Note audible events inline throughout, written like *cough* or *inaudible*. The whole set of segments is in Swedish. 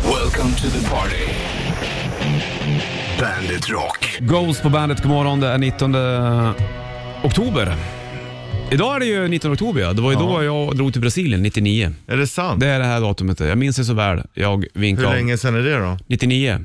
Welcome to the party. Bandit Rock. Ghost på bandet, god morgon. Det är 19 oktober. Idag är det ju 19 oktober ja. Det var ju då jag drog till Brasilien, 99. Är det sant? Det är det här datumet, jag minns det så väl. Jag Hur vinkade av. länge Mm. sedan är det då? 99.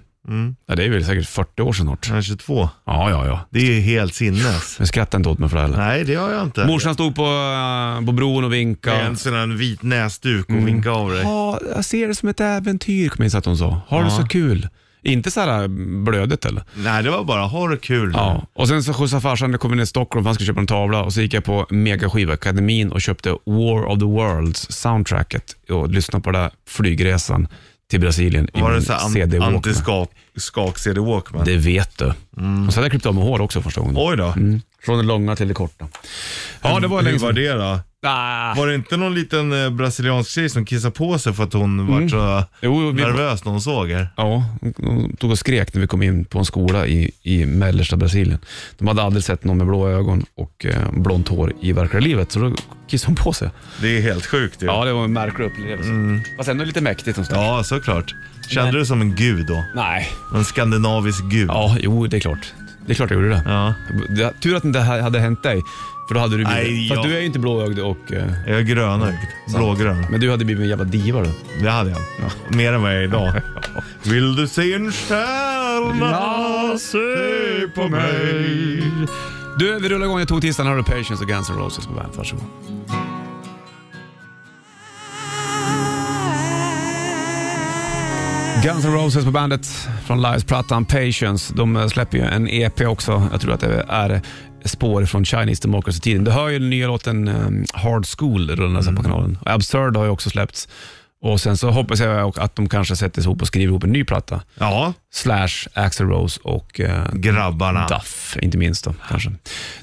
Ja, det är väl säkert 40 år sedan snart. Han är 22. Ja, ja, ja. Det är ju *laughs* helt sinnes. Men skratta inte åt mig för det heller. Nej, det har jag inte. Morsan stod på, eh, på bron och Med vinkade. en sån här vit näsduk och Mm. vinka av dig. Ja, jag ser det som ett äventyr, minns jag att hon sa. Har du så kul? Inte så här blödigt eller? Nej, det var bara ha det kul. Ja, och sen så skjutsade farsan, det kom vi ner till Stockholm för han skulle köpa en tavla och så gick jag på Megaskivakademin och köpte War of the Worlds soundtracket och lyssnade på den där flygresan till Brasilien i Var det min så här CD an- Walkman. antiskak-CD Walkman? Det vet du. Mm. Och så hade jag klippt av mig hår också första gången. Oj då. Mm. Från det långa till det korta. Ja, det var Hur länge var sedan. det då? Ah. Var det inte någon liten eh, brasiliansk tjej som kissade på sig för att hon var så Mm. Jo, jo, vi, nervös när hon såg er? ja, de tog och skrek när vi kom in på en skola i, i mellersta Brasilien. De hade aldrig sett någon med blå ögon och eh, blont hår i verkliga livet, så då kissade hon på sig. Det är helt sjukt ju. Ja, Mm. det var en märklig upplevelse. Fast ändå lite mäktigt någonstans. Ja, såklart. Kände du dig som en gud då? Nej. En skandinavisk gud? Ja, jo, det är klart. Det är klart jag gjorde det. Ja. det tur att inte det här hade hänt dig. För då hade du blivit... Nej, Fast jag- du är ju inte blåögd och... eh, Jag är grönögd. Blågrön. Men du hade blivit en jävla diva du. Det hade jag. Mer än vad jag är *laughs* idag. Vill du se en stjärna? Se på mig. Du, vi rullar igång. Jag tog tisdagen. Här har du Patience och Guns N' Roses på bandet. Varsågod. Guns N' Roses på bandet från Lives-plattan Patience. De eh, släpper ju en EP också. Jag tror att det är spår från Chinese Democracy-tiden. Du hör ju den nya låten um, Hard School rullandes här på Mm. kanalen. Och Absurd har ju också släppts. Och sen så hoppas jag att de kanske sätter sig ihop och skriver ihop en ny platta. Ja, Slash Axl Rose och eh, grabbarna. Duff, inte minst då kanske.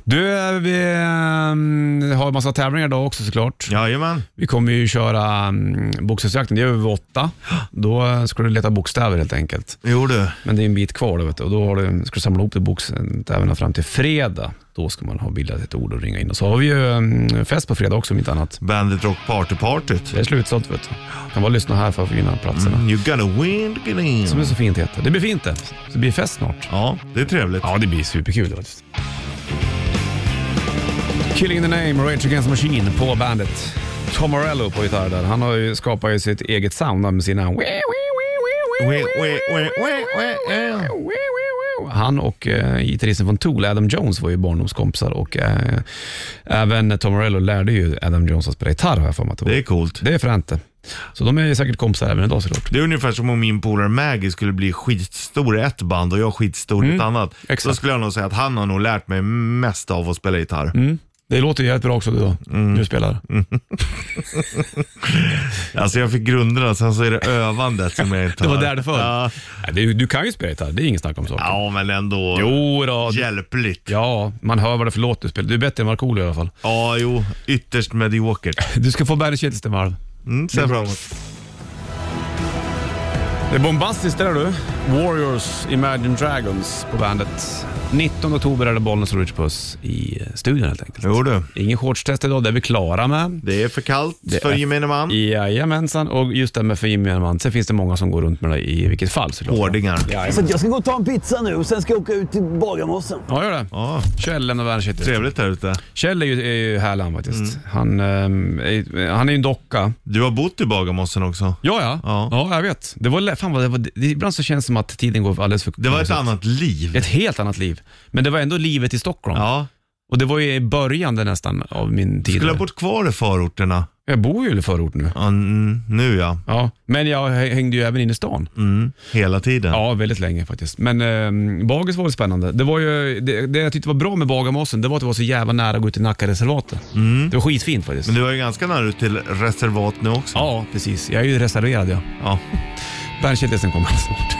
Du, eh, vi eh, har en massa tävlingar idag också såklart. Jajamän. Vi kommer ju köra um, bokstavsjakten, det gör vi vid åtta. Då eh, ska du leta bokstäver helt enkelt. Jo du. Men det är en bit kvar då, vet du. och då har du, ska du samla ihop de bokstäverna fram till fredag. Då ska man ha bildat ett ord och ringa in. Och så har vi ju um, fest på fredag också om inte annat. Bandit Rock Party-partyt. Det är slutsålt vet du. Kan bara lyssna här för att vinna platserna. You gotta win to get in. Som det så fint heter. Det blir fint det. Det blir fest snart. Ja, det är trevligt. Ja, det blir superkul faktiskt. Killing in the name, Rage Against the Machine på bandet. Tom Morello på gitarr där. Han har ju skapat ju sitt eget sound där med sina... We- we- we- we- we- eh. Han och eh, gitarristen från Tool, Adam Jones, var ju barndomskompisar och eh, även Tom Morello lärde ju Adam Jones att spela gitarr har jag för mig att det var. Det är coolt. Det är fränt det. Så de är ju säkert kompisar även idag såklart. Det är ungefär som om min polare Maggie skulle bli skitstor i ett band och jag skitstor i ett annat. Mm. exakt. Då skulle jag nog säga att han har nog lärt mig mest av att spela gitarr. Det låter ju jävligt bra också du då, du spelar. Alltså jag fick grunderna, sen så är det övandet som jag inte Det var har. där det föll. Ja. Nej, Du, du kan ju spela gitarr, det är inget snack om saker. Ja, men ändå. Jo då. Hjälpligt. Ja, Ja, man hör vad det är för låt du spelar. Du är bättre än Markoolio i alla fall. jo. Ytterst mediokert. Du ska få Bandit Shitlist en varv. Mm, ser fram emot. Det är bombastiskt det där du. Warriors, Imagine Dragons på bandet. 19 oktober är det Bollnäs och Rich Puss i eh, studion helt enkelt. Mm. Jo du. Ingen shortstest idag, det är vi klara med. Det är för kallt för är- gemene man. Jajamensan, och just det här med för gemene man. Sen finns det många som går runt med det i vilket fall såklart. Hårdingar. Så att jag ska gå och ta en pizza nu och sen ska jag åka ut till Bagarmossen. Ja, gör det. Ja, Kjell lämnar Bandit Shitlist. trevligt här ute. Kjell är ju, är ju härlig han faktiskt. Han, ehm, är, han är ju en docka. Du har bott i Bagarmossen också. Ja, ja. ja. Ja. jag vet. Det var, lä- fan vad det var, det, ibland så känns det som att tiden går alldeles för Det var ett långsamt. annat liv. Ett helt annat liv. Men det var ändå livet i Stockholm. Ja. Och det var ju i början där nästan av min tid. Skulle där. ha bott kvar i förorterna. Jag bor ju i förort nu. Ja, mm, nu ja. Ja, men jag hä- hängde ju även inne i stan. Mm. Hela tiden. Ja, väldigt länge faktiskt. Men eh, Bagis var ju spännande. Det, var ju, det, det jag tyckte var bra med Bagarmossen, det var att det var så jävla nära att gå ut i Nackareservatet. Det var skitfint faktiskt. Mm. Men du var ju ganska nära ut till reservat nu också. Ja, precis. Jag är ju reserverad jag. Ja. Bandshittlisten kommer alldeles snart.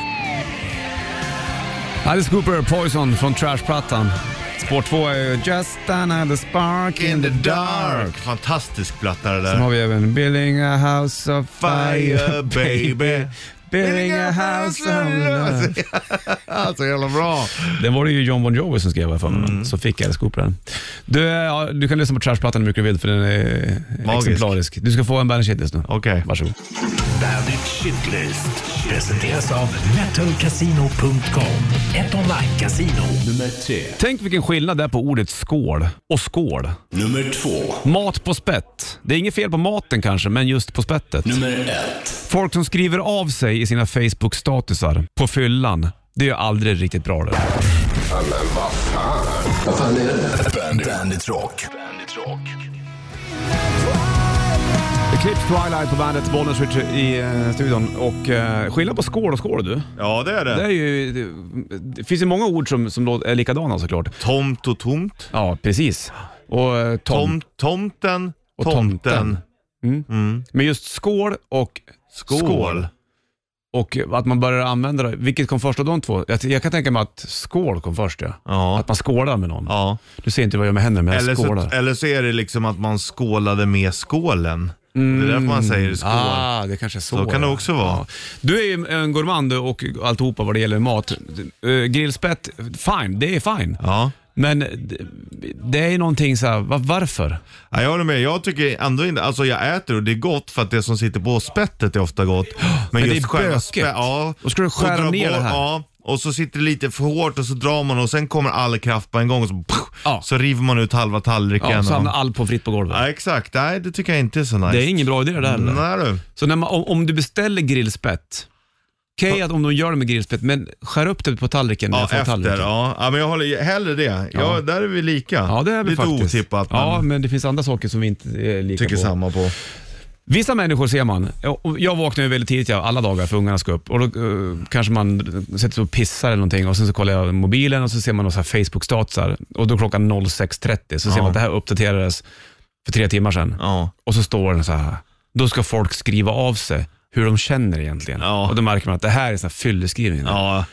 Alice Cooper, Poison från Trash-plattan. Spår 2 är ju Just another spark in the dark. Fantastisk platta det Sen där. har vi även Building a house of fire *laughs* Fire baby. Det ringer hans famn. *laughs* Så jävla bra. Den var det ju John Bon Jovi som skrev för mig, Mm. men så fick jag älskop den. Du, eh, ja, du kan lyssna på Trashplattan hur mycket du vill för den är Magisk. exemplarisk. Du ska få en Bandit Shitlist nu. Okej. Varsågod. Bandit Shitlist presenteras av metalcasino.com. Ett online-casino. Nummer tre. Tänk vilken skillnad det är på ordet skål och skål. Nummer två. Mat på spett. Det är inget fel på maten kanske, men just på spettet. Nummer ett. Folk som skriver av sig i sina Facebook-statusar på fyllan, det är ju aldrig riktigt bra det. Bandit, Bandit Rock. Bandit Rock. Klipp Twilight på bandet Bollnäs Richard i eh, studion. Och eh, skillnad på skål och skål du. Ja, det är Det, är det. ju, det, det finns ju många ord som, som lå- är likadana såklart. Tomt och tomt. Ja, precis. Och eh, tom. Tom, tomten. Och tomten. tomten. Mm. Mm. Men just skål och, Skål. Skål. och att man börjar använda det. Vilket kom först av de två? Jag, jag kan tänka mig att skål kom först ja. Ja. Att man skålar med någon. ja. Du ser inte vad jag gör med händerna, men Eller jag skålar. så, eller så är det liksom att man skålade med skålen. Det är därför man säger skål. Ah, det kanske är så. Så kan det också vara. Du är ju en gourmand du, och alltihopa vad det gäller mat. Eh, Grillspett, fine, det är fine. Ja. Men det- det är ju någonting så här, va- varför? Ja, jag håller med. Jag tycker ändå inte, alltså jag äter och det är gott för att det som sitter på spettet är *gasps* ofta gott. Men, det just är själva bökigt. spä- ja. Då ska du skära Och dra ner det här. Ja, och så sitter det lite för hårt och så drar man och sen kommer all kraft på en gång och så, Ja. så river man ut halva tallriken. Ja, och- så hamnar allt på fritt på golvet. ja, exakt. Nej, det tycker jag inte är så nice. Det är ingen bra idé det där. eller? Nej du. Så när man, om, om du beställer grillspett, okej att om de gör det med grillspett, men skär upp det på tallriken när Ja, jag får efter. tallriken. Ja. ja, men jag håller hellre det. Ja, Ja. där är vi lika. Ja, det är vi Lite faktiskt. otippat, men Ja, men det finns andra saker som vi inte är lika tycker på. samma på. Vissa människor ser man. och Jag vaknar ju väldigt tidigt ja, alla dagar för ungarna ska upp. Och då eh, kanske man sätter sig och pissar eller någonting och sen så kollar jag mobilen och så ser man några så här Facebook-statusar. Och då klockan 06.30 så ser man att det här uppdaterades för tre timmar sedan. Ja. Och så står den så här. Då ska folk skriva av sig hur de känner egentligen. Ja. Och då märker man att det här är sån här fylleskrivning. Ja,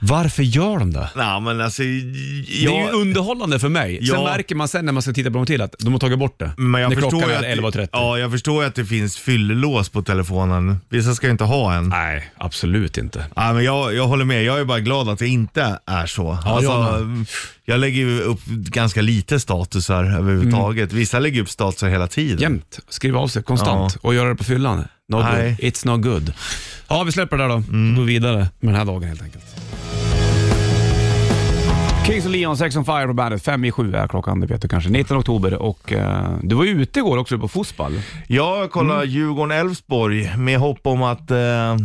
Varför gör de det? nej men alltså. Det Jag... är ju underhållande för mig. Sen Ja. märker man sen när man ska titta på något till att de har tagit bort det. Men jag när förstår klockan ju är att det- 11.30. Ja, jag förstår ju att det finns fyllelås på telefonen. Vissa ska ju inte ha en. Nej. Nej, absolut inte. men jag, jag håller med. Jag är bara glad att det inte är så. Alltså, Ja, jag jag lägger ju upp ganska lite statusar överhuvudtaget. Mm. Vissa lägger upp statusar hela tiden. Jämt. Skriva av sig konstant och göra det på fyllan. No Nej. Mm. good. It's no good. Ja, vi släpper det där då. Vi går vidare med den här dagen helt enkelt. Kings och Leon, Sex on Fire på bandet. Fem i sju är klockan, det vet du kanske. 19 oktober och eh, du var ute igår också på fotboll. Jag kollar Mm. Djurgården-Elfsborg med hopp om att... Eh,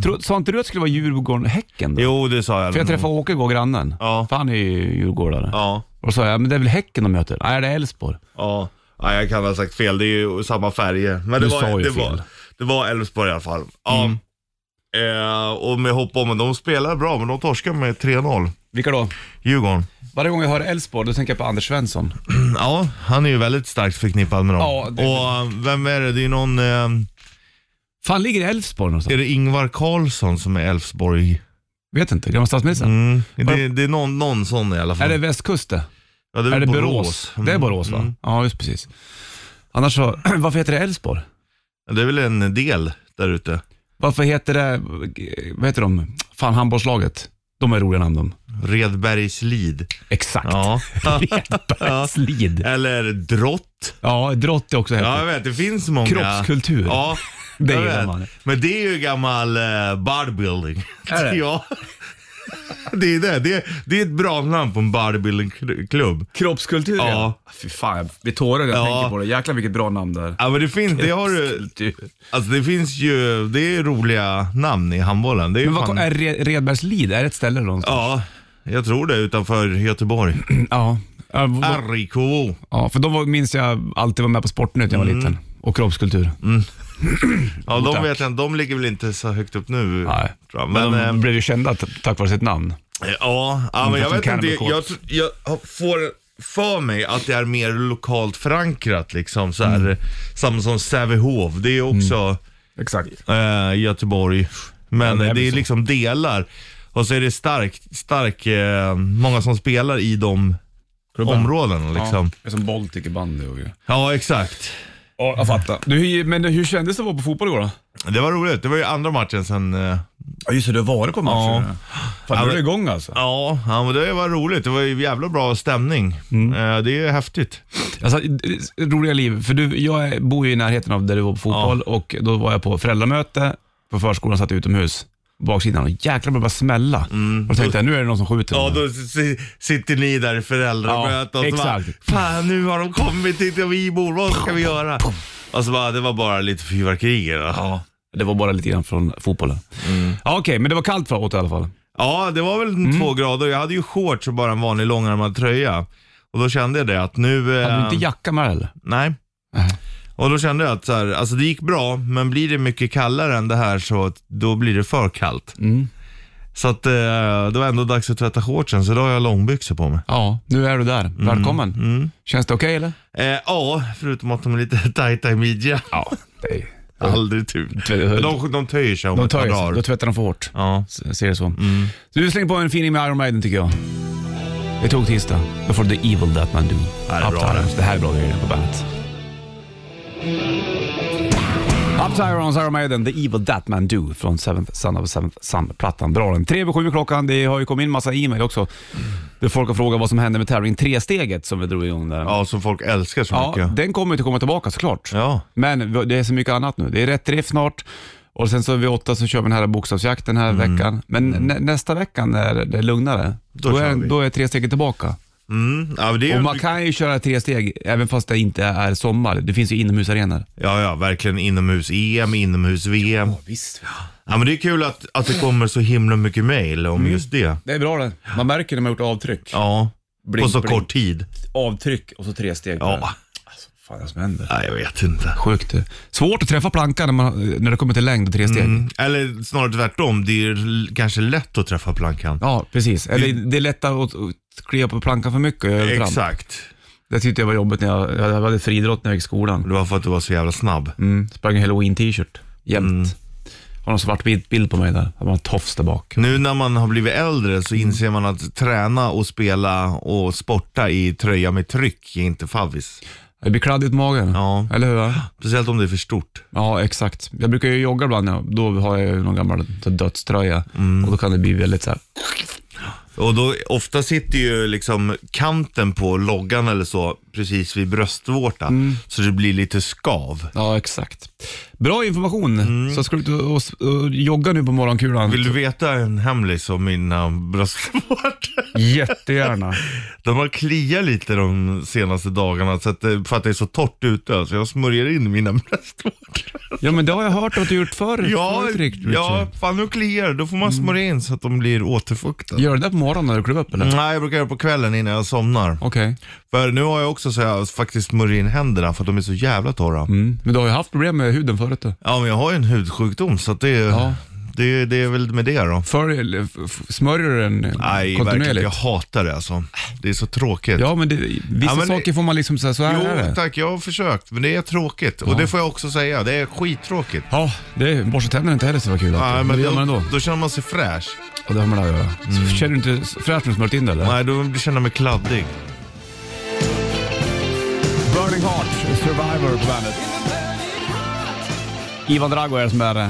Tro- Sa inte du att det skulle vara Djurgården-Häcken? då? jo, det sa jag. För jag träffade Åke igår, grannen. Ja. För han är ju djurgårdare. Ja, Och så sa jag, men det är väl Häcken de möter? Nej, det är Elfsborg. ja. ja, jag kan ha sagt fel. Det är ju samma färger. Men Du det var, sa ju det fel. Mm. Var, det var Elfsborg i alla fall. Ja. Eh, och med hopp om att de spelar bra, men de torskar med 3-0. Vilka då? Djurgården. Varje gång jag hör Elfsborg, då tänker jag på Anders Svensson. Ja, han är ju väldigt starkt förknippad med dem. Ja, det- Och eh, vem är det? Det är någon... Eh, Fan, ligger Elfsborg någonstans? är det Ingvar Karlsson som är Elfsborg? Vet inte, gamla statsministern. Mm. Det, det är någon, någon sån i alla fall. Är det västkust det? ja, det Är väl det Borås? Mm. Det är Borås va? Mm. Ja, just precis. Annars så, *clears throat* varför heter det Älvsborg? Ja, Det är väl en del där ute. Varför heter det, vad heter de, fan handbollslaget? De är roliga namn de. Redbergslid. Exakt. *laughs* Ja. Ja. Slid. Eller Drott. Ja, Drott är också Ja, häftigt. jag vet. Det finns många. Kroppskultur. Ja, *laughs* Det jag gillar vet. man. Men det är ju gammal eh, bodybuilding. Är det? *laughs* Ja. Det är det. Det är, det är ett bra namn på en bodybuildingklubb. Kroppskultur ja. Fy fan, jag blir tårögd när jag Ja. tänker på det. Jäklar vilket bra namn det är. Ja men det finns, det har du, alltså det finns ju, det är roliga namn i handbollen. Det är ju Men vad, fan, är Re- Redbergslid, är det ett ställe då någonstans? Ja, jag tror det utanför Göteborg. Ja. Ja. vad- RIK. ja, för då var- minns jag alltid var med på Sportnytt när jag var Mm. liten. Och kroppskultur. Ja, de Mm, tack. vet jag, de ligger väl inte så högt upp nu. Nej. tror jag. Men, Men, de eh, blev ju kända t- tack vare sitt namn. ja, ja men jag som vet inte, Cannibal jag, Corpse. tr- jag får för mig att det är mer lokalt förankrat liksom. Så här, Mm. Samma som Sävehof, det är också Exakt. eh, Göteborg. Men Mm. det är det, väl är så. liksom delar. Och så är det stark, stark eh, många som spelar i de områdena liksom. Ja, som Baltic i bandy och grejer. Ja, exakt. Ja, jag fattar. Du, men hur kändes det att vara på fotboll igår då? Det var roligt. Det var ju andra matchen sen... eh, Ja, just det, du har varit på matcher. Ja. Fan, Ja, nu är men- du igång alltså. Ja, ja, men det var roligt. Det var ju jävla bra stämning. Mm. Eh, Det är häftigt. Alltså, det- roliga liv. För du, jag är- bor ju i närheten av där du var på fotboll och då var jag på föräldramöte på förskolan, satt utomhus. Baksidan och jäklar vad det bara smälla. Mm. Och då tänkte jag, nu är det någon som skjuter. Ja, då si- sitter ni där i föräldramötet Ja, och så bara, exakt. Fan, nu har de kommit hit där vi bor. Vad ska vi göra? Och så bara, det var bara lite fyrverkerier. Ja. Ja, det var bara lite grann från fotbollen. Mm. Ja, Okej, men det var kallt för åt i alla fall. ja, det var väl Mm. två grader. Jag hade ju shorts och bara en vanlig långärmad tröja. Och då kände jag det att nu... Hade du eh, inte jacka med eller? Nej. Nej. Och då kände jag att så här, alltså det gick bra, men blir det mycket kallare än det här så att då blir det för kallt. Mm. Så att eh, det var ändå dags att tvätta shortsen, så då har jag långbyxor på mig. Ja, nu är du där. Mm. Välkommen. Känns det okej eller? Eh, ja, förutom att de är lite *laughs* tajta i midjan. Ja, det är... Aldrig tur. Tvätt- De, de töjer sig om De ett tar par ju sig, då dagar. tvättar de för hårt. Ja. Mm. S- Ser det så. Så du slänger på en fining med Iron Maiden tycker jag. Det tog tisdag. Då får du The Evil That Man Do. Ja, det är Up bra Tyrons. Det här är bra grejer på bandet. Up Tyrons, Iron Maiden, The Evil That Man Do från Seventh Son of Seventh Son-plattan. Bra den. Tre över sju är klockan. Det har ju kommit in massa e-mail också. Där folk har frågat vad som hände med tävling tre-steget som vi drog igång där. ja, som folk älskar så Ja, mycket. den kommer ju att komma tillbaka såklart. Ja. Men det är så mycket annat nu. Det är rätt drift snart. Och sen så vid åtta så kör vi den här bokstavsjakten den här Mm. veckan. Men nä- nästa vecka när det är lugnare, då, Då kör är, vi. då är tre steg tillbaka. Mm, ja, men det är Och ju man kan ju köra tre steg även fast det inte är sommar. Det finns ju inomhusarenor. ja, ja, verkligen inomhus-EM, inomhus-VM. Ja, visst. men det är kul att, att det kommer så himla mycket mail om just det. Det är bra det. Man märker när man har gjort avtryck. Ja, Blink, på så blink. kort tid. Avtryck och så tre steg. på Ja. den. Alltså, fan det är som händer. Nej, jag vet inte. Sjukt. Svårt att träffa plankan när, man, när det kommer till längd och tre steg. Mm. Eller snarare tvärtom, det är l- kanske lätt att träffa plankan. Ja, precis. Eller Mm. det är lättare att, att klia på plankan för mycket och göra övertramp. Exakt. Det tyckte jag var jobbigt när jag, jag hade friidrott när jag gick i skolan. Det var för att du var så jävla snabb. Mm, sprang i halloween-t-shirt jämt. Har någon svartvit bild på mig där. Hade man en tofs där bak. Nu när man har blivit äldre Mm. så inser man att träna och spela och sporta i tröja med tryck är inte favvis. Det blir kladdigt i magen. Ja. Eller hur? va? Speciellt om det är för stort. Ja, exakt. Jag brukar ju jogga ibland. ja. Då har jag ju någon gammal så här dödströja. Mm. Och då kan det bli väldigt så här. Och då, ofta sitter ju liksom kanten på loggan eller så precis vid bröstvårta. Mm. Så det blir lite skav. Ja, exakt. Bra information. Så ska du ut och, och, och jogga nu på morgonkulan. Mm. Vill du veta en hemlis om mina bröstvårtor? *laughs* Jättegärna. De har kliat lite de senaste dagarna så att, det- för att det är så torrt ute. Så jag smörjer in mina *laughs* bröstvårtor. Ja, men det har jag hört att du gjort förr. Ja, förut, Rick, ja, Richard. Mm. fan nu kliar det. Då får man smörja in så att de blir återfuktade. Gör du det på morgonen när du kliver upp eller? Nej, jag brukar göra det på kvällen innan jag somnar. Okej. För nu har jag också så jag faktiskt smörjer in händerna för att de är så jävla torra. Mm. Men du har ju haft problem med huden förut. Du. Ja, men jag har ju en hudsjukdom så att det, är- Ja. det, det är väl med det då. Förr, eller, f- f- smörjer du den Nej, verkligen. kontinuerligt? Jag hatar det alltså. Det är så tråkigt. Ja, men det, vissa Ja, men- saker får man liksom säga, så här är Jo det. tack, jag har försökt men det är tråkigt. Och det får jag också säga, det är skittråkigt. Ja, det, borsta tänderna är inte heller så kul. alltid. Nej, men det gör då, man ändå. då känner man sig fräsch. Och det har man att göra. Så Känner du inte fräscht när du smörjt in det eller? Mm. Nej, då känner jag mig kladdig. Burning Heart, Survivor på bandet. Ivan Drago är det som är eh,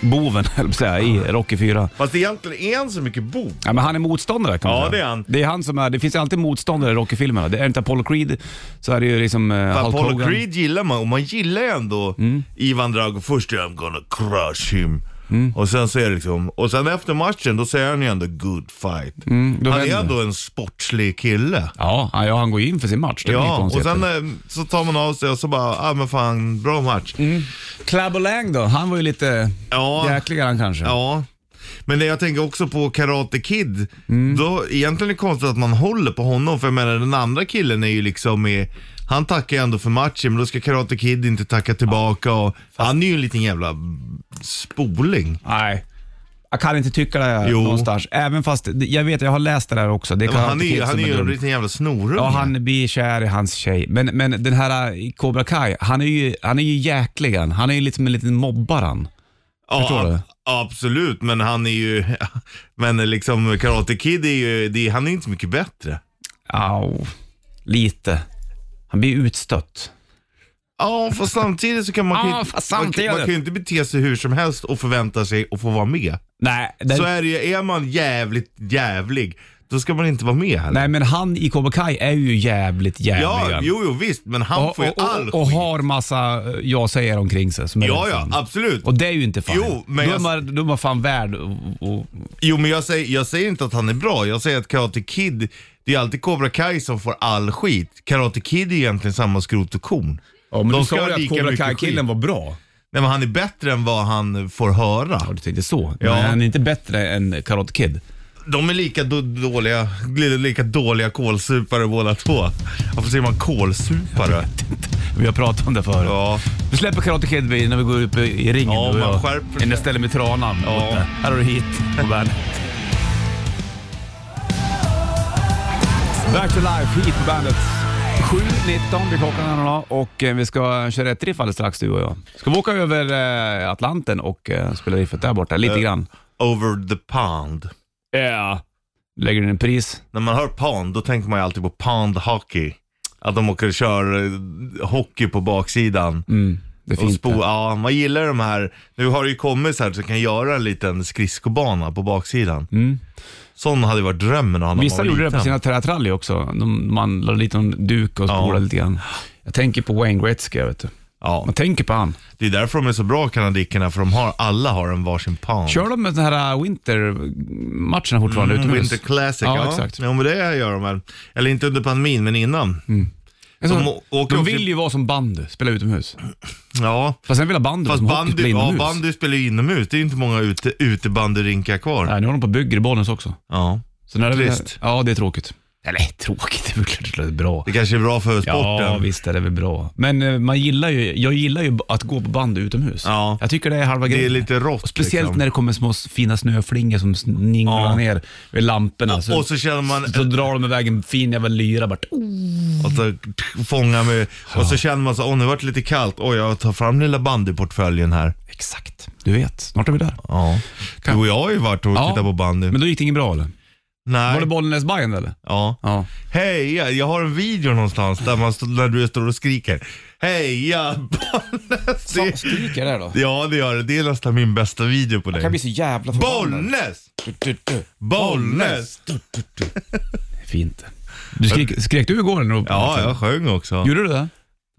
boven, *laughs* höll jag på att säga, i Rocky 4. Fast egentligen är han så mycket bov. Ja, men han är motståndare kan man Ja, säga. det är han. Det, är han som är, det finns ju alltid motståndare i Rocky-filmerna. Det är inte Apollo Creed, så är det ju liksom eh, Hulk Apollo Hogan. Mm. Creed gillar man och man gillar ju ändå Ivan Drago. Först är I'm gonna crush him. Mm. Och sen så är det liksom, och sen efter matchen då säger han ju ändå good fight. Mm, då han är vänder. ändå en sportslig kille. Ja, ja, han går ju in för sin match. Det blir Ja, och konstigt. sen eh, så tar man av sig och så bara, ah men fan, bra match. Mm. Club och Lang då, han var ju lite Ja. jäkligare han kanske. Ja. Men det- jag tänker också på Karate Kid. Då, egentligen är det konstigt att man håller på honom, för jag menar den andra killen är ju liksom med, han tackar ju ändå för matchen, men då ska Karate Kid inte tacka tillbaka. Och, han är ju en liten jävla spoling. Nej. Jag kan inte tycka det Jo. någonstans. Även fast, jag vet, jag har läst det där också. Det Men kan han är, inte ju- Kid han som är ju en dum. liten jävla snorunge. Ja, han blir kär i hans tjej. Men, men den här i Cobra Kai, han är ju, han är ju jäklig han. Han är ju liksom en liten mobbare han. Ja, förstår du? ab- Absolut, men han är ju, *laughs* men liksom Karate Kid är ju, det, är- han är inte så mycket bättre. Au. Lite. Han blir utstött. Ja, fast samtidigt så kan man, Ja, kan, fast man, kan- samtidigt. man kan ju inte bete sig hur som helst och förvänta sig att få vara med. Nej, den, Så är det ju, är man jävligt jävlig, då ska man inte vara med heller. nej, men han i Kobakaj är ju jävligt jävlig. ja, jo, jo, visst, men han och, får ju och, all och, och skit. har massa eh, jag säger omkring sig. Som är Ja, ja, ensam. absolut. Och det är ju inte fan. Jo, men då, är jag- man, då är man fan värd och, och, Jo, men jag säger, jag säger inte att han är bra. Jag säger att Karate Kid, det är alltid Cobra Kai som får all skit. Karate Kid är egentligen samma skrot och korn. Ja, men De du ska ha sa ju att lika Cobra mycket Kai-killen skit. var bra. Nej, men han är bättre än vad han får höra. ja, du tänkte så. Ja. Men han är inte bättre än Karate Kid. *laughs* De är lika då- dåliga, li- lika dåliga kålsupare båda två. Varför säger man kålsupare? Vi har pratat om det förut. Ja. Vi släpper Karate Kid vid- när vi går upp i i ringen. Ja, du och man jag. skärper sig. Innan jag ställer mig i tranan. Ja. Här har du hit på bandet. Back to life, hit på bandet. 7.19 blir klockan här idag och eh, vi ska köra ett riff alldeles strax du och jag. Ska vi åka över eh, Atlanten och eh, spela riffet där borta lite Eh. grann? Over the pond. Ja. Lägger du in en pris? När man hör pond, då tänker man ju alltid på pond hockey. Att de åker och kör eh, hockey på baksidan. Det är Och Mm, fint. eh. spo, det. ja, man gillar de här. Nu har det ju kommit så här så kan göra en liten skridskobana på baksidan. Sån hade ju varit drömmen att ha när Mm. Vissa man var gjorde det på liten. sina terratrally också. De, man la lite någon duk och Ja. spolade lite grann. Jag tänker på Wayne Gretzky, jag vet du. Ja, Man tänker på han. det är därför de är så bra kanadickerna för de har, alla har en varsin pond. Kör de med den här äh, wintermatcherna fortfarande utomhus? Winter Classic, Ja, ja. exakt. Ja, men det gör de väl. Eller inte under pandemin, men innan. Alltså, De å- åker de också- vill ju vara som bandy, spela utomhus. Ja, Fast sen vill ha bandy vara fast som hockey, bandy, spela ja, inomhus. bandy spelar ju inomhus. Det är ju inte många ute, utebandyrinkar kvar. Nej, nu håller de på och bygger i Bollnäs också. Ja. Så när det- Trist. Ja, det är tråkigt. Eller tråkigt, det är väl klart det är bra. Det kanske är bra för sporten. Ja, visst är det väl bra. Men eh, man gillar ju, jag gillar ju att gå på bandy utomhus. Ja. Jag tycker det är halva Det är grejen. lite rått Speciellt liksom. när det kommer små fina snöflingor som sninglar Ja. ner vid lamporna. Så, Och så känner man så drar de iväg en fin jävla lyra bara. Och så fångar mig. Och så känner man så, åh nu vart det lite kallt. Oj, jag tar fram lilla bandyportföljen här. Exakt. Du vet, snart är vi där. Ja. Du och jag har ju varit och tittat på bandy. Men då gick det inget bra eller? Nej. Var det bollnäs Bayern eller? Ja. Ja. Heja, jag har en video någonstans där, man stå, där du står och skriker. Heja Bollnäs! Det, Skriker det då? ja det gör det, det är nästan min bästa video på dig. så jävla Bollnäs! Bollnäs! Fint. Du skrek, skrek du igår? När du, Ja, jag sjöng också. Gjorde du det?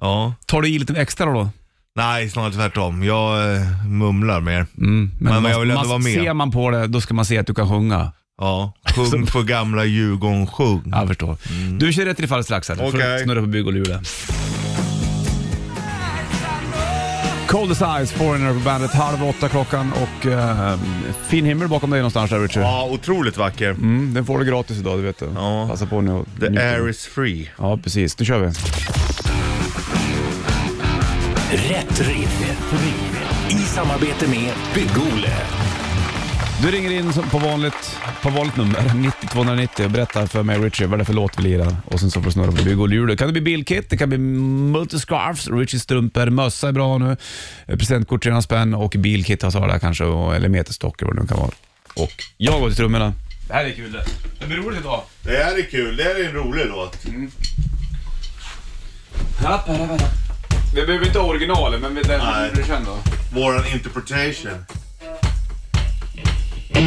Ja. Tar du i lite extra då? Nej, snarare tvärtom. Jag eh, mumlar mer. Men jag vill ändå vara med. Ser man på det, då ska man se att du kan sjunga. Ja, sjung för gamla Djurgården, sjung. Ja, Jag förstår. Du kör rätt i fall strax här. Mm. Okej. Okay. Snurra på bygg och lura. Coldest Eyes, Foreigner på bandet. Halv åtta klockan och eh, fin himmel bakom dig någonstans där Richard. Ja, otroligt vacker. Mm, den får du gratis idag, du vet det. Ja. Passa på nu och The njut. air is free. Ja, precis. Nu kör vi. Rätt riff. Rätt riff. I samarbete med Bygg-Ole. Du ringer in som- på vanligt, på vanligt nummer, *laughs* 90-290 och berättar för mig Richie vad det är för låt vi lirar. Och sen så får du snurra på bygg och hjul. Det kan det bli bilkit, det kan bli multiscarfs, Richies strumpor, mössa är bra nu, eh, presentkort 300 spänn och bilkit har där kanske, och- eller meterstock eller vad det nu kan vara. Och jag går till trummorna. Det här är kul det. Det blir roligt idag. Det här är kul, det här är en rolig låt. Vi behöver inte originalen, men den Nej. du känner då. Våran interpretation.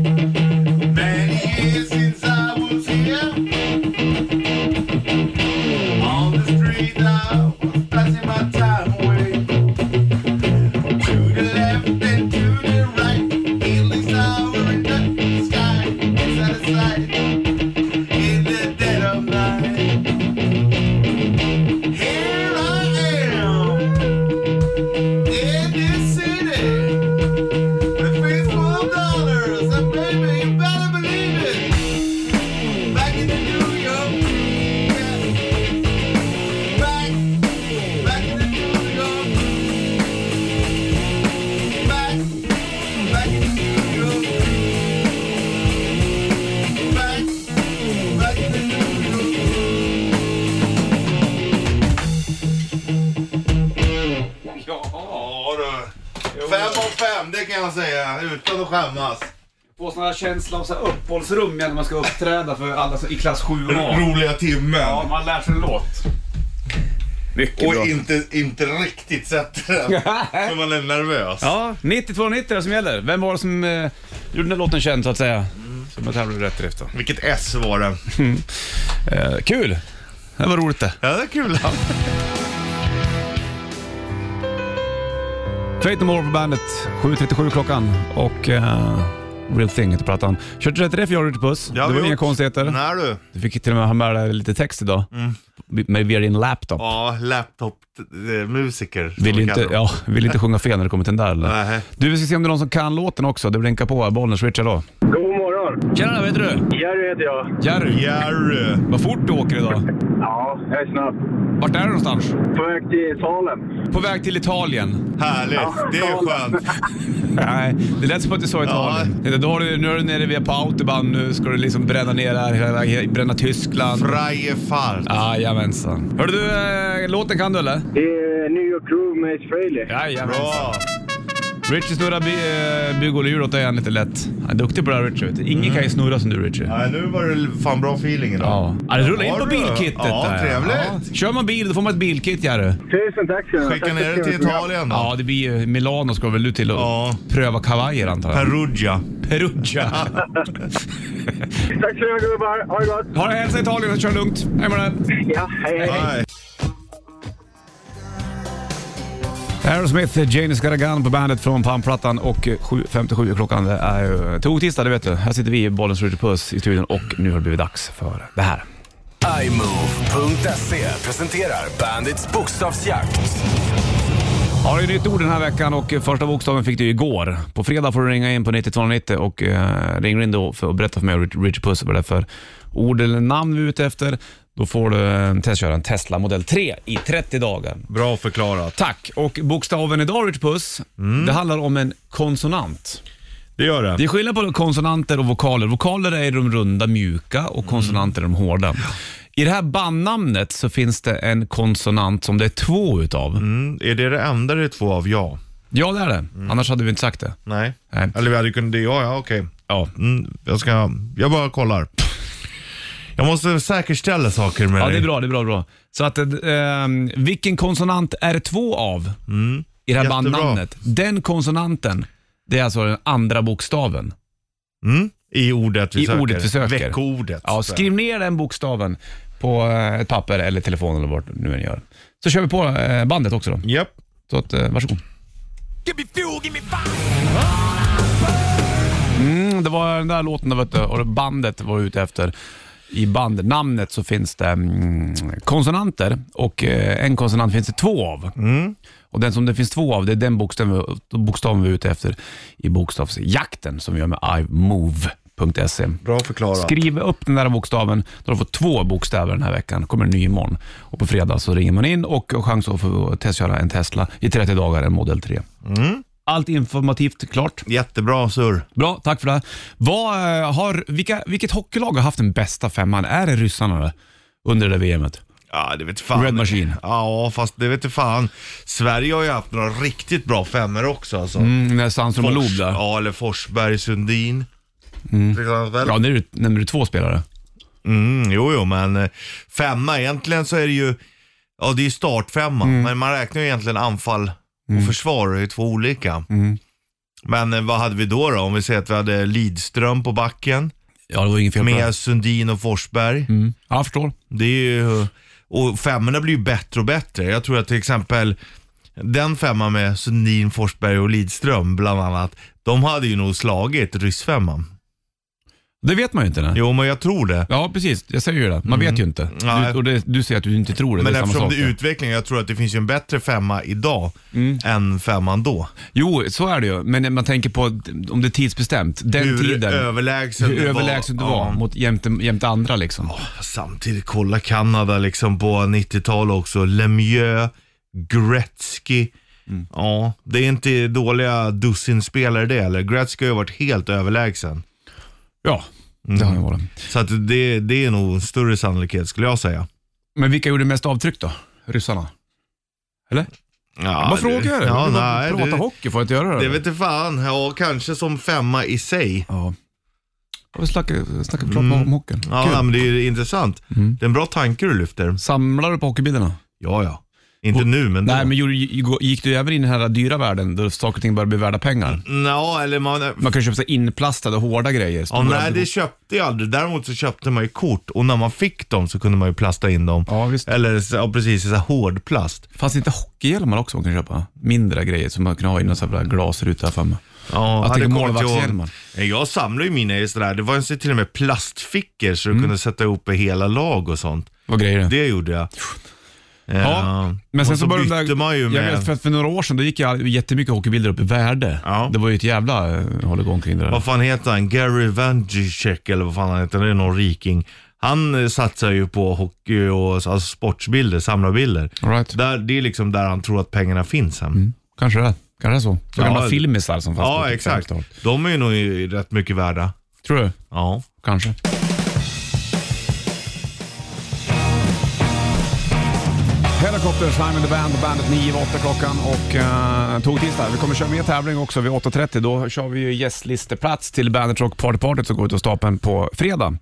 Many years since I was here. On the street I was passing my time away. To the left and to the right. Buildings are in the sky. It's out of sight. In the dead of night. Here I am in this city with fistful of dollars, and baby, you better believe it. Back in New York, yes. back, back in New York, back, back in New York, back, back in New York. Ja du. Fem av fem, det kan jag säga utan att skämmas. få sån här känsla av så här uppehållsrum igen när man ska uppträda för alla så- i klass 7 *clears throat* a Roliga timmen. Ja, man lär sig en låt. Mycket Och bra. inte, inte riktigt sett *laughs* den. För man är nervös. *laughs* Ja, 9290 är det som gäller. Vem var det som eh, gjorde den där låten känd så att säga? Mm. Som jag tävlade rätt drift då. Vilket S var det. Eh, kul! Det var roligt det. Ja, det *laughs* är kul. Fate No More på bandet, 7.37 klockan och eh, Real Thing heter plattan. Kört rätt riff gör du Puss. har det vi var inga gjort. konstigheter. Nej du. Du fick till och med ha med dig lite text idag. Med via din laptop. Ja, laptop-musiker. som Vill vi inte, kallar dem. ja, vill inte sjunga fel när det kommer till den där eller? Nej. Du, vi ska se om det är någon som kan låten också. Det blinkar på här. Bollnäs Richard då. God morgon! Tjena, vad heter du? Jerry heter jag. Jerry. Jerry. Vad fort du åker idag. Ja, jag är snabb. Vart är du någonstans? På väg till Salem. På väg till *laughs* Italien. Härligt. Det är skönt. Nej, det lät som att du sa Italien. Ja. Då har du, nu är du nere vid på Autobahn. Nu ska du liksom bränna ner här hela vägen. Bränna Tyskland. Freie Fahrt. Jajamensan. Hörde du, eh, låten kan du eller? Det är New York Groove med Israeli. Jajamensan. Bra. Richie snurrar by, eh, bygghjul åt dig igen lite lätt. Han är duktig på det här Richie. vet du. Ingen Mm. kan ju snurra som du Richie. Nej, nu var det fan bra feeling idag. Ja. Ja, det rullar in Har på du? bilkittet Ja, där. trevligt. Ja. Kör man bil då får man ett bilkit Jerry. Tusen tack ska ni ha. Skicka Tack för ner det ett till trevligt program. Italien då. Ja, det blir ju Milano ska väl du till och Ja. pröva kavajer antar jag. Perugia. Perugia. Tack så mycket gubbar. Ha det gott. ha det, hälsa Italien och kör lugnt. Hej med dig. Ja, hej hej. Nej. Aerosmith, Janis Gargan på bandet från Pamplattan och eh, 7.57 klockan. Det är ju tog-tisdag, det vet du. Här sitter vi i Bollens Ritchie Puss i studion och nu har det blivit dags för det här. iMove.se presenterar bandits bokstavsjakt. Ja, det är nytt ord den här veckan och första bokstaven fick du igår. På fredag får du ringa in på 9290 och eh, ringer in då för att berätta för mig och Rich- Richard Puss vad det är för ord eller namn vi är ute efter. Då får du eh, testköra en Tesla modell 3 i 30 dagar. Bra förklarat. Tack! Och bokstaven idag Richard Puss, det handlar om en konsonant. Det gör Det det. är skillnad på konsonanter och vokaler. Vokaler är de runda, mjuka och konsonanter är de hårda. I det här bandnamnet så finns det en konsonant som det är två utav. Mm, är det det enda det är två av? Ja. Ja, det är det. Annars hade vi inte sagt det. Nej. Nej. Eller vi hade kunnat... Ja, ja, okej. Ja. Mm, jag ska... Jag bara kollar. Jag måste säkerställa saker med Ja, det dig. är bra. Det är bra, bra. Så att, eh, vilken konsonant är det två av i det här Mm. Jättebra. bandnamnet? Den konsonanten, det är alltså den andra bokstaven. Mm, I ordet vi I söker. ordet vi söker. Veckordet. Ja, skriv ner den bokstaven på eh, ett papper eller telefon eller vad du nu gör. Så kör vi på eh, bandet också då. Japp. Så att, eh, varsågod. Mm, det var den där låten där, vet du, och det bandet var ute efter. I bandnamnet så finns det mm, konsonanter och eh, en konsonant finns det två av. Och Den som det finns två av, det är den bokstaven, bokstaven vi är ute efter i bokstavsjakten som vi gör med imove.se. Bra förklarat. Skriv upp den där bokstaven. Då har du fått två bokstäver den här veckan. kommer en ny imorgon. Och på fredag så ringer man in och har chans att få testköra en Tesla i 30 dagar, en Model 3. Allt informativt klart. Jättebra surr. Bra, tack för det. här. Vad, eh, har, vilka, vilket hockeylag har haft den bästa femman? Är det ryssarna eller? under det där VMet? Ja, det vet fan. Red Machine. Ja, fast det vet fan. Sverige har ju haft några riktigt bra femmer också alltså. Mm, när Sandström och Loob där. ja, eller Forsberg, Sundin. Till exempel. Mm. Ja, nu är det- nämner du två spelare. Mm, jo, jo, men eh, femma egentligen så är det ju, ja det är ju startfemma, Mm. men man räknar ju egentligen anfall och försvar, det är två olika. Mm. Men eh, vad hade vi då då? Om vi säger att vi hade Lidström på backen Ja, det var inget fel på det. med Sundin och Forsberg. Mm. Ja, jag förstår. Det är ju, och femmorna blir ju bättre och bättre. Jag tror att till exempel den femman med Sundin, Forsberg och Lidström bland annat, de hade ju nog slagit ryssfemman. Det vet man ju inte. Nej. Jo, men jag tror det. Ja, precis. Jag säger ju det. Man vet ju inte. Nej. Du, och det, du säger att du inte tror det. Men det är samma eftersom sak. det är utveckling, jag tror att det finns ju en bättre femma idag Mm. än femman då. Jo, så är det ju. Men man tänker på om det är tidsbestämt. Den Hur tiden. överlägsen hur det överlägsen du var. var Ja. mot jämte, jämte andra liksom. Samtidigt, kolla Kanada liksom på 90-talet också. Lemieux, Gretzky. Mm. Ja, det är inte dåliga dussinspelare det eller? Gretzky har ju varit helt överlägsen. Ja, det Mm. har jag varit. Så att det, det är nog en större sannolikhet skulle jag säga. Men vilka gjorde mest avtryck då? Ryssarna? Eller? Ja, Ja, Vad du- frågar du? Ja, du nej, prata du, hockey, får jag inte göra det? det vet inte fan. Ja, kanske som femma i sig. ja. Har vi snackat, snackat klart om hockeyn? Mm. Ja, Kul. nej, men det är ju intressant. Mm. Det är en bra tanke du lyfter. Samlar du på hockeybilderna? Ja, ja. Inte nu, men då. Nej, men gjorde- gick du även in i den här dyra världen där saker och ting börjar bli värda Mm. pengar? Nå, eller man... Man kan köpa sig inplastade hårda grejer. Ja, stora- nej, det köpte jag aldrig. Däremot så köpte man ju kort och när man fick dem så kunde man ju plasta in dem. Ja, visst. Eller så- ja, precis, så här hårdplast. Fanns det inte hockeyhjälmar också man kan köpa? Mindre grejer som man kan ha i någon sån här glasruta här för mig. Ja, Jag hade tänker kommit till- målvaktshjälmar. Nej, Jag samlar ju mina i sådär, det var ju så- till och med plastfickor så du Mm. kunde sätta ihop hela lag och sånt. Vad grejer det? Det gjorde jag. Ja, Eh, men sen och så, började bytte där, man ju med... Jag vet, för, att för några år sedan då gick jag jättemycket hockeybilder upp i värde. Ja. Det var ju ett jävla eh, håll-igång kring det där. Vad fan heter han? Gary Vanjicek eller vad fan han heter. Det är någon riking. Han eh, satsar ju på hockey och alltså, sportsbilder, samlarbilder. All right. Mm. Där, det är liksom där han tror att pengarna finns sen. Kanske det. Kanske det så. Så Ja, gamla det- filmisar som fanns på Ja, 85 exakt. tal. De är ju nog i- rätt mycket värda. Tror du? Ja. Kanske. Helicopters, I'm in the band, bandet 9 var 8 klockan och uh, tog-tisdag. Vi kommer köra mer tävling också vid 8.30. Då kör vi ju gästlisteplats till Bandet Rock Party Party som går ut och stapeln på fredag.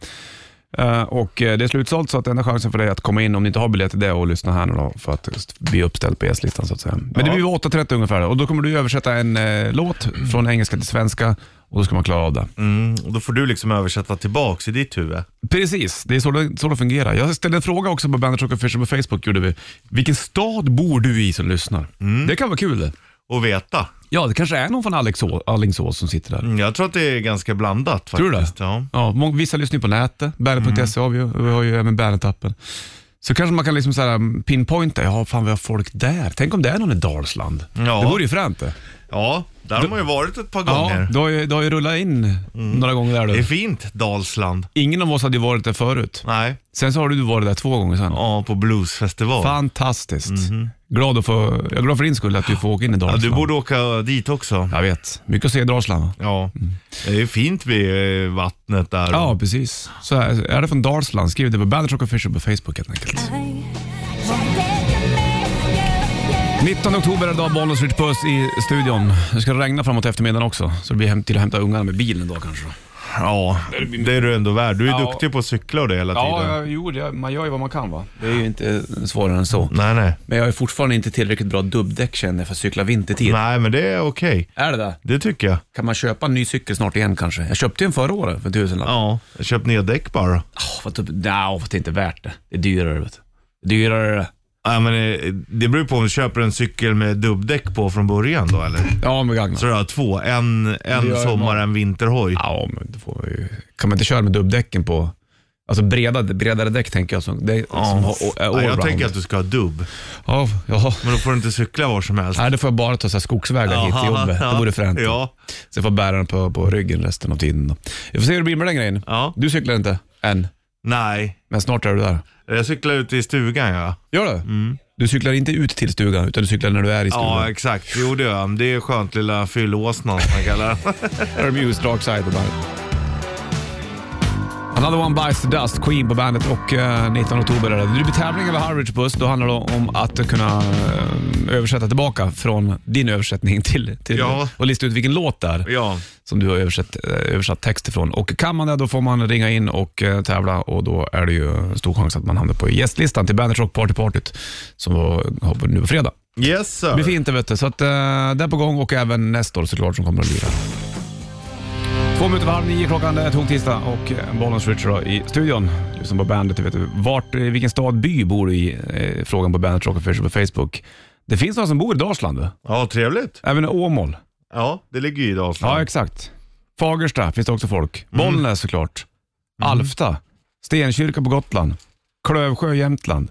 Eh, och eh, det är slutsålt så att enda chansen för dig att komma in om ni inte har biljett är det och lyssna här nu då för att just bli uppställd på gästlistan så att säga. Men det blir vid 8.30 ungefär och då kommer du översätta en eh, låt från engelska till svenska och då ska man klara av det. Mm, och då får du liksom översätta tillbaks i ditt huvud. Precis, det är så det, så det fungerar. Jag ställde en fråga också på Bandit Rock Official på Facebook. Gjorde vi. Vilken stad bor du i som lyssnar? Mm. Det kan vara kul det. Och veta. Ja, det kanske är någon från Alexå- Alingsås som sitter där. Mm, Jag tror att det är ganska blandat faktiskt. Tror du det? Ja. Mm. Ja, må- vissa lyssnar ju på nätet, bandet.se har vi ju, och vi har ju även Bandit-appen. Så kanske man kan liksom så här pinpointa, ja fan vi har folk där. Tänk om det är någon i Dalsland. Ja. Det vore ju fränt det. ja, där har man ju varit ett par Ja, gånger. det har ju, det har ju rullat in några gånger där Mm. Det är du. fint, Dalsland. Ingen av oss hade ju varit där förut. Nej, Sen så har du varit där två gånger sen. ja, på bluesfestival. Fantastiskt. Glad att få, jag är glad för din skull att Mhm. du får åka in i Ja, Dalsland. du borde åka dit också. Jag vet. Mycket att se i Dalsland. va? Ja, det är ju fint vid eh, vattnet där. Mm. Ja, precis. Så här, är det från Dalsland, skriv det på Bandit Rock Official på Facebook helt enkelt. 19 oktober är det idag, Bollnäs Rich Puss i studion. Det ska regna framåt eftermiddagen också, så det blir hem till att hämta ungarna med bilen idag kanske. då. Ja, det är du ändå värd. Du är Ja. duktig på att cykla och det hela tiden. jo, man gör ju vad man kan va. Mm. Det är ju inte svårare än så. Nej, nej. Men jag är fortfarande inte tillräckligt bra dubbdäck känner jag för att cykla vintertid. Nej, men det är okej. Är det det? Det tycker jag. Kan man köpa en ny cykel snart igen kanske? Jag köpte ju en förra året för tusenlapp. Ja, köp nya däck bara. Oh, vad typ, nej, det är inte värt det. Det är dyrare. Vet du. Dyrare. Ja, men eh, det beror ju på om du köper en cykel med dubbdäck på från början då eller? Ja, men gagna. Så du har två, en, en sommar, en vinterhoj. Ja, men då får man ju, kan man inte köra med dubbdäcken på... Alltså breda, bredare däck tänker jag. Som, det, som har, är Ja, jag allround. tänker att du ska ha dubb, Ja, ja. men då får du inte cykla var som helst. Nej, då får jag bara ta så här skogsvägar hit till Jaha, jobbet. ja. Det vore fränt. Ja. Så jag får bära den på, på ryggen resten av tiden. Då. Vi får se hur det blir med den grejen. Ja. Du cyklar inte än, Nej, men snart är du där. jag cyklar ute i stugan ja. Gör du? Du cyklar inte ut till stugan, utan du cyklar när du är i stugan. Mm. Ja, exakt. Jo, det gör jag. Det är skönt lilla fyllåsnan som man kallar den. Her Muse, Dark Side på bandet. Another One Bites the Dust, Queen på bandet och eh, 19 oktober är det. Det blir tävling över Harwich Buss. Då handlar det om att kunna eh, översätta tillbaka från din översättning till, till Ja. och lista ut vilken låt det är *laughs* Ja, som du har översatt, eh, översatt text ifrån. Och kan man det då får man ringa in och eh, tävla och då är det ju stor chans att man hamnar på gästlistan till Bandet Rock Party Partyt som var, har på- nu på fredag. yes Det blir sir. fint det vet du. Så att, eh, det är på gång och även nästa år såklart som kommer att lira. Två minuter över halv nio klockan, det är tog tisdag och eh, Bollnäs Richard då i studion. Lyssna på bandet, du vet du. Vart, eh, vilken stad, by bor du i? Eh, frågan på bandet Rock Official på Facebook. Det finns några som bor i Dalsland du. Ja, trevligt. Även i Åmål. Ja, det ligger ju i Ja, Dalsland. exakt. Fagersta finns det också folk. Bollnäs såklart. Alfta. Stenkyrka på Gotland. Klövsjö i Jämtland.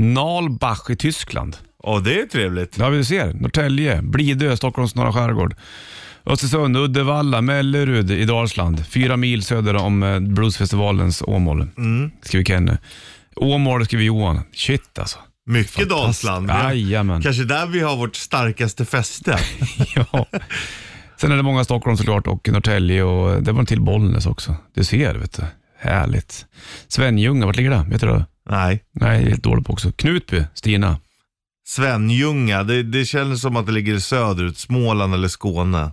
Nalbach i Tyskland. Ja, det är trevligt. Ja, vi ser. Norrtälje, Blidö, Stockholms norra skärgård. Östersund, Uddevalla, Mellerud i Dalsland. Fyra mil söder om eh, bluesfestivalens Åmål, skriver Kenny. Åmål skriver Johan. Shit alltså. Mycket Dalsland. Jajamän. Kanske där vi har vårt *laughs* starkaste fäste. ja. Sen är det många i Stockholm såklart och Norrtälje och det var en till Bollnäs också. Du ser, vet du. Härligt. Svenljunga, vart ligger det? Vet du det? Nej. Nej, jag är helt dålig på också. Knutby, Stina. Svenljunga, det, det känns som att det ligger söderut, Småland eller Skåne.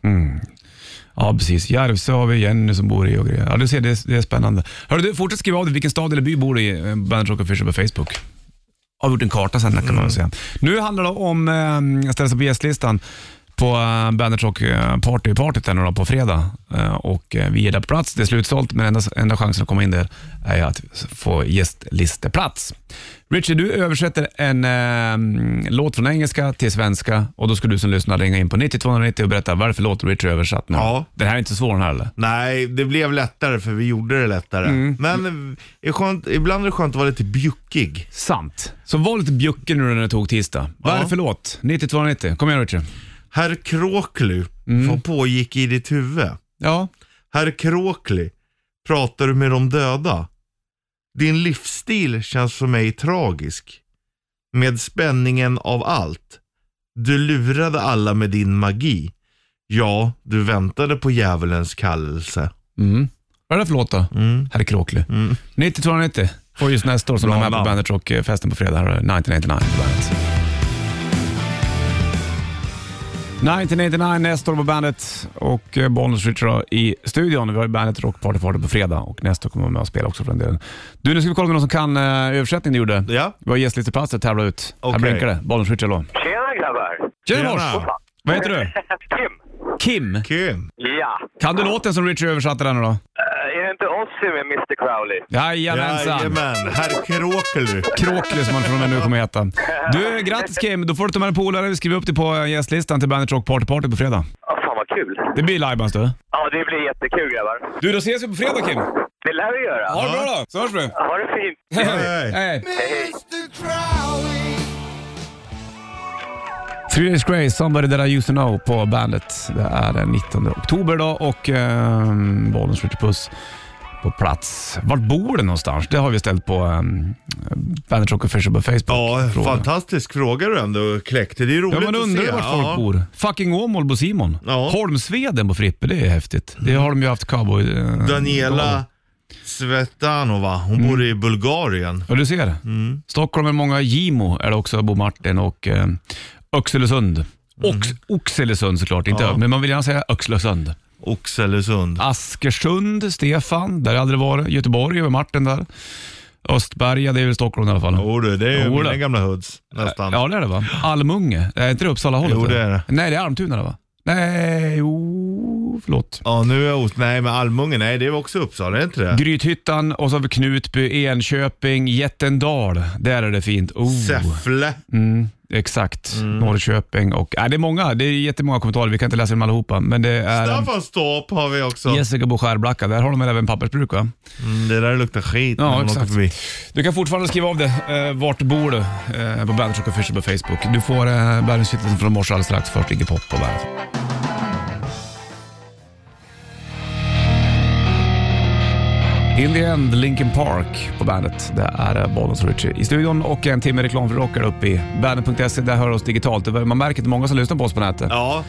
Ja, precis. Järvsö har vi Jenny som bor i och grejer. Ja, du ser, det är, det är spännande. Hörru du, fortsätt skriva av dig. Vilken stad eller by bor du i? eh, Bandet Rock Official på Facebook. Har gjort en karta sen kan man väl säga. Nu handlar det om, eh, jag ställer sig på gästlistan, på eh, Bandet Rock eh, Party, partyt här nu då, på fredag. Eh, och eh, vi är där på plats. Det är slutsålt, men enda, enda chansen att komma in där är att få gästlisteplats. Richard, du översätter en eh, låt från engelska till svenska och då ska du som lyssnar ringa in på 90 och berätta varför låten Richard är översatt nu. Ja. Den här är inte så svår den här eller? Nej, det blev lättare för vi gjorde det lättare. Men eh, det är skönt, ibland är det skönt att vara lite bjuckig. Sant. Så var lite bjucken nu när det tog tisdag. Vad är det för låt? 9290. Kom igen Richard. Herr Kråkly, vad pågick i ditt huvud? Ja. Herr Kråkly, pratar du med de döda? Din livsstil känns för mig tragisk. Med spänningen av allt. Du lurade alla med din magi. Ja, du väntade på djävulens kallelse. Mm. Vad är det för låt då? Herr Kråkly. Mm. 9290. Får just nästa år som de Bra är med på namn. Bandet Rock-festen på fredag. Här är 1989 på Bandet. 1989 nästa år på Bandet och eh, Bonus Richard då i studion. Vi har ju Bandet Rock Party Party på fredag och nästa år kommer man med och spela också för den delen. Du, nu ska vi kolla med någon som kan eh, översättningen du gjorde. Ja. Vi har gästlisteplatser att tävla ut. Här Okej. blinkar det. Bonus Richard då. Tjena grabbar! Tjena Tjena. mors! Vad heter du? Kim! Kim. Kul. Ja, Kan du låten som Richard översatte den då? Eh, är det inte Ozzy med Mr Crowley? Jajamensan! Jajamän, herr Kråkly. Kråklig som han från och med nu kommer heta. Du, grattis Kim! Då får du ta med en polare och skriva upp dig på eh, gästlistan till Bandet Rock Party Party på fredag. Ja, fan vad kul! Det blir livebands du. Ja, det blir jättekul grabbar. Du, då ses vi på fredag Kim! Det lär vi göra. Ha det bra då, så hörs vi! Ha det fint! Hej. Hej! Three Days Grace, Somebody That I Used To Know på bandet. Det är den 19 oktober idag och eh, Bollnäs skjuter puss på plats. Vart bor du någonstans? Det har vi ställt på eh, Bandet Rock Official på Facebook. Ja, Frågan. fantastisk fråga du ändå kläckte. Det är roligt Ja, man att se. undrar vart folk Ja. bor. Fucking Åmål bor Simon. Ja. Mm. Holmsveden på Frippe, det är häftigt. Det har de ju haft cowboy... eh, Daniela Svetanova, hon Mm. bor i Bulgarien. Ja, du ser. Mm. Stockholm är många. Gimo är det också, bor Martin och eh, Öxelösund. Ox, Oxelösund såklart, inte Mm. Ja. men man vill gärna säga Öxelösund. Oxelösund. Askersund, Stefan, där har jag aldrig varit. Göteborg är Martin där. Östberga, det är väl Stockholm i alla fall. Jo du, det är ju Jo, det. mina gamla hoods nästan. Ja, det är det va? Almunge, är inte det Uppsala-hållet? Jo, det är det. Nej, det är Almtuna det va? Nej, jo, förlåt. Ja, nu är jag os... Nej, men Almunge, nej det är också Uppsala, är det inte det? Grythyttan och så har vi Knutby, Enköping, Jättendal. Där är det fint. Oh. Säffle. Mm, exakt. Norrköping och... Äh, det är många. Det är jättemånga kommentarer. Vi kan inte läsa dem allihopa. Men det är... um, Staffanstorp har vi också. Jessica Bo Skärblacka, där har de väl även pappersbruk va? Mm, det där luktar skit Ja, när man åker exakt. förbi. Du kan fortfarande skriva av det. Eh, vart bor du? Eh, på Bandit Rock Official på Facebook. Du får eh, Bandit-kitteln från morse alldeles strax. Först ligger Pop på Bandit. In the end, Linkin Park på bandet. Det är eh, Bollnäs och Richie i studion och en timme reklam för rockare uppe i bandet.se. Där hör oss digitalt. Man märker att det är många som lyssnar på oss på nätet. Ja,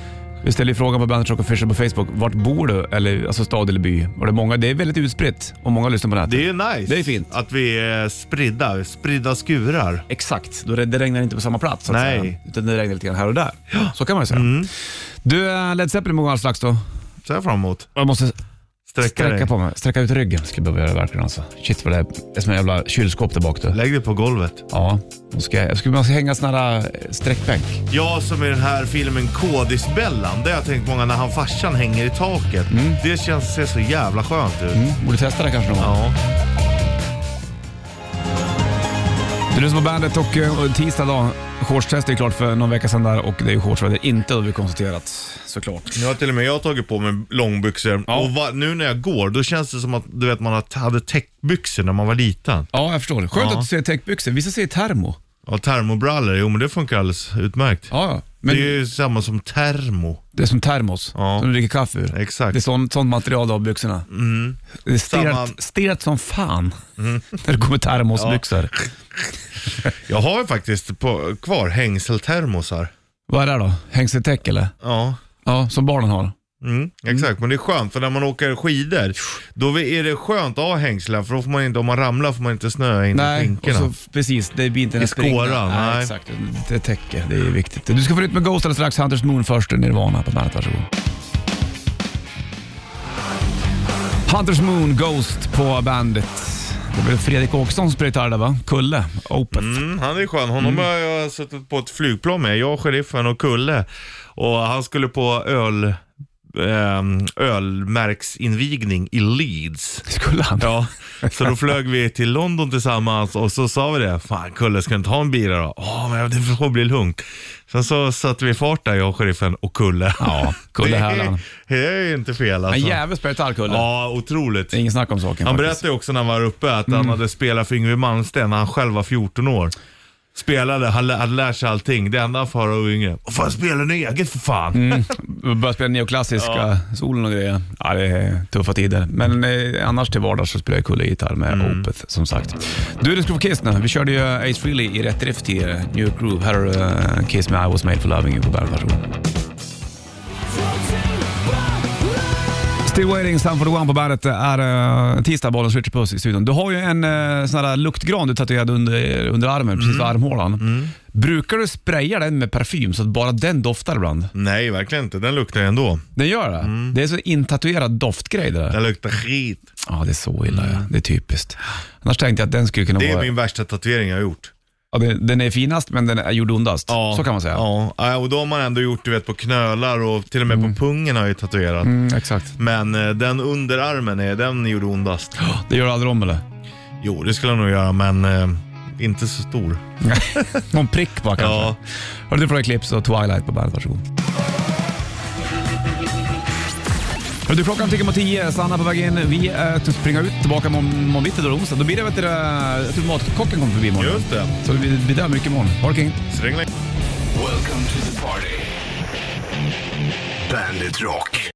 Vi ställer ju frågan på Bandet Rock Official på Facebook. Vart bor du? Eller, alltså stad eller by? Och det, är många, det är väldigt utspritt och många lyssnar på nätet. det är ju nice. Det är fint. Att vi är spridda, spridda skurar. Exakt, då det, det regnar inte på samma plats. Så att Nej. Mm. Säga. Utan det regnar lite grann här och där. Så kan man ju säga. Du, eh, Led Zeppelin mot all slags då. Så här fram emot. Jag måste Sträcka, sträcka dig. på mig. Sträcka ut ryggen skulle jag behöva göra verkligen alltså. Shit vad det är. Det är som en jävla kylskåp där bak du. Lägg dig på golvet. Ja, då ska jag, jag skulle man ska hänga sån här eh, sträckbänk. Jag som i den här filmen Kodisbellan, det har jag tänkt många när han farsan hänger i taket. Det känns, ser så jävla skönt ut. Mm. Borde testa det kanske någon gång. Ja. Du lyssnar på bandet och eh, tisdag dag. Shortstest är klart för någon vecka sedan där och det är ju shortsväder inte har vi konstaterat såklart. Nu har till och med jag tagit på mig långbyxor Ja. och va, nu när jag går då känns det som att du vet man har- hade täckbyxor när man var liten. Ja, jag förstår. Skönt Ja. att du säger täckbyxor. Vissa säger termo. Ja, termobrallor, jo men det funkar alldeles utmärkt. Ja, ja. Men Det är ju samma som termo. det är som termos Ja. som du dricker kaffe ur. Exakt. Mm. Det är sånt, sånt material du har i byxorna. Det är Samma- Mm. stelt, stelt som fan *laughs* när det kommer termosbyxor. Jag har ju faktiskt på, kvar hängseltermosar. Vad är det då? Hängseltäck eller? Ja. Ja, som barnen har. Mm, exakt, men det är skönt för när man åker skidor då är det skönt att ha hängslen för då får man inte, om man ramlar får man inte snöa in i Nej, och skinkorna. så, precis. Det blir inte en springa. skåran, nej. Exakt, det täcker. Det är viktigt. Du ska få nytt med Ghost alldeles strax. Hunters Moon först, Nirvana på bandet. Varsågod. Hunters Moon Ghost på bandet. Det var väl Fredrik Åkesson som spelade gitarr där va? Kulle, Opeth. Mm, han är skön. Honom har jag suttit på ett flygplan med. Jag, sheriffen och Kulle. Och han skulle på öl, ehm, ölmärksinvigning i Leeds. Skulle han? Ja, så då flög vi till London tillsammans och så sa vi det. Fan Kulle, ska du inte ha en bira då? Ja, men det får bli lugnt. Sen så satte vi fart där, jag, sheriffen och Kulle. Ja, Kulle det, Härland. är, det är inte En fel alltså. jävel spelar gitarr Kulle. Ja, otroligt. Det är ingen snack om saken Han faktiskt. Mm. berättade ju också när han var uppe att han hade spelat för Yngwie Malmsteen när han själv var 14 år. Spelade, han lä- hade lärt sig allting. Det enda han får höra av Yngwie, vad fan spelar ni eget för fan? Mm. Börjat spela neoklassiska solen och grejer. Ja, det är tuffa tider. Men eh, annars till vardags så spelar jag Kulle gitarr med Opeth som sagt. Du, du ska få Kiss nu. Vi körde ju eh, Ace Frehley i rätt drift i eh, New York Groove. Här har du eh, Kiss med I was made for loving you på bandet. Varsågod. Still waiting, Stanford One på bandet. Det är eh, tisdag, Bollens Richard Puss i studion. Du har ju en eh, sån här luktgran du tatuerad under, under armen, precis vid armhålan. Brukar du spraya den med parfym så att bara den doftar ibland? Nej, verkligen inte. Den luktar ju ändå. Den gör det? Mm. Det är så intatuerad doftgrej det där. Den luktar skit. Ja, det är så illa ja. Det är typiskt. Annars tänkte jag att den skulle kunna Mm. Det är vara... min värsta tatuering jag har gjort. Ja, den, den är finast, men den är gjord ondast. Så kan man säga. Ja, Ja, och då har man ändå gjort du vet, på knölar och till och med på pungen har jag ju tatuerat. Mm, exakt. Men eh, den underarmen, är, den gjorde ondast. Det gör du aldrig om eller? Jo, det skulle jag nog göra, men eh, inte så stor. Någon prick bara kanske? Ja. Hör du från Eclipse och Twilight på bandet, varsågod. Hör Du, klockan tickar mot tio, Sanna på väg in. Vi eh, typ springer ut tillbaka imorgon imorgon bitti då onsdag. Då blir det vet du, det, jag tror matkocken kommer förbi imorgon. Just det. Så det blir, det blir där mycket imorgon. Ha det king. Sträng Welcome to the party. Bandit Rock.